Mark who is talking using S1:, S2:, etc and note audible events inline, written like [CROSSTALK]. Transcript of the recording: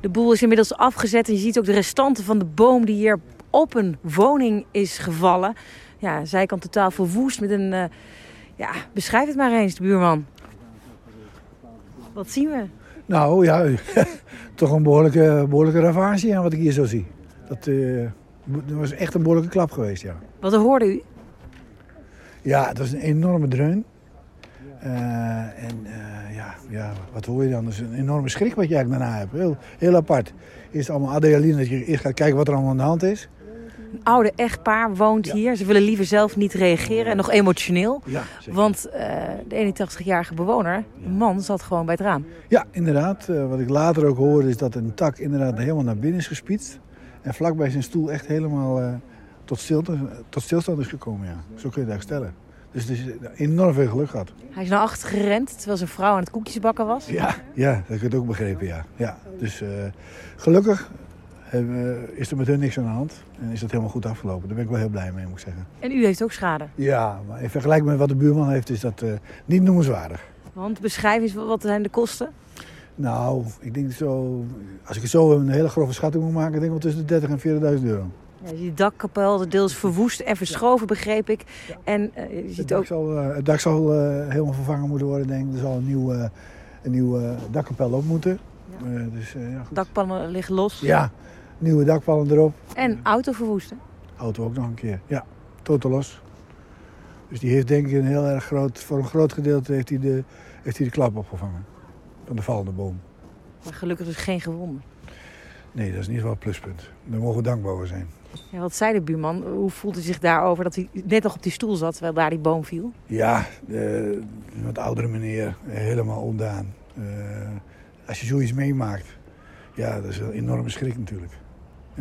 S1: De boel is inmiddels afgezet en je ziet ook de restanten van de boom die hier op een woning is gevallen. Ja, zijkant totaal verwoest met een... eh, ja, beschrijf het maar eens, de buurman. Wat zien we?
S2: Nou ja, [LAUGHS] toch een behoorlijke, behoorlijke ravage aan wat ik hier zo zie. Dat, eh, dat was echt een behoorlijke klap geweest, ja.
S1: Wat hoorde u?
S2: Ja, het was een enorme dreun. Eh, en eh, ja, ja, wat hoor je dan? Dat is een enorme schrik wat je eigenlijk daarna hebt. Heel, heel apart. Eerst allemaal adrenaline dat je eerst gaat kijken wat er allemaal aan de hand is.
S1: Een oude echtpaar woont
S2: Ja.
S1: hier. Ze willen liever zelf niet reageren en nog emotioneel.
S2: Ja, zeker.
S1: Want eh, de 81-jarige bewoner, de man, zat gewoon bij het raam.
S2: Ja, inderdaad. Eh, wat ik later ook hoorde is dat een tak inderdaad helemaal naar binnen is gespietst. En vlakbij zijn stoel echt helemaal eh, tot, stilte, tot stilstand is gekomen. Ja. Zo kun je het eigenlijk stellen. Dus het is enorm veel geluk gehad.
S1: Hij is naar achter gerend terwijl zijn vrouw aan het koekjesbakken was.
S2: Ja, ja dat heb ik het ook begrepen, ja. ja. Dus eh, gelukkig hebben- is er met hun niks aan de hand. En is dat helemaal goed afgelopen. Daar ben ik wel heel blij mee, moet ik zeggen.
S1: En u heeft ook schade.
S2: Ja, maar in vergelijking met wat de buurman heeft, is dat eh, niet noemenswaardig.
S1: Want beschrijf eens wat zijn de kosten.
S2: Nou, ik denk zo, als ik zo een hele grove schatting moet maken, denk ik wel tussen de 30.000 en 40.000 euro.
S1: Ja, je ziet het dakkapel, deels verwoest en verschoven, begreep ik. En eh, je
S2: Het
S1: ziet
S2: dak
S1: ook
S2: zal, eh, het dak zal eh, helemaal vervangen moeten worden, denk ik. Er zal een nieuw, eh, een nieuw eh, dakkapel op moeten.
S1: Ja.
S2: Eh, dus, eh, ja, goed.
S1: dakpannen liggen los.
S2: ja, nieuwe dakpallen erop.
S1: En auto verwoesten.
S2: Auto ook nog een keer. Ja, totaal los. Dus die heeft denk ik een heel erg groot, voor een groot gedeelte heeft hij de, heeft hij de klap opgevangen. Van de vallende boom.
S1: Maar gelukkig dus geen gewonden.
S2: Nee, dat is niet wel een pluspunt. Daar mogen we dankbaar voor zijn.
S1: Ja, wat zei de buurman? Hoe voelde hij zich daarover dat hij net nog op die stoel zat terwijl daar die boom viel?
S2: Ja, de de wat oudere meneer, helemaal ondaan. Eh, als je zoiets meemaakt, ja, dat is een enorme schrik natuurlijk.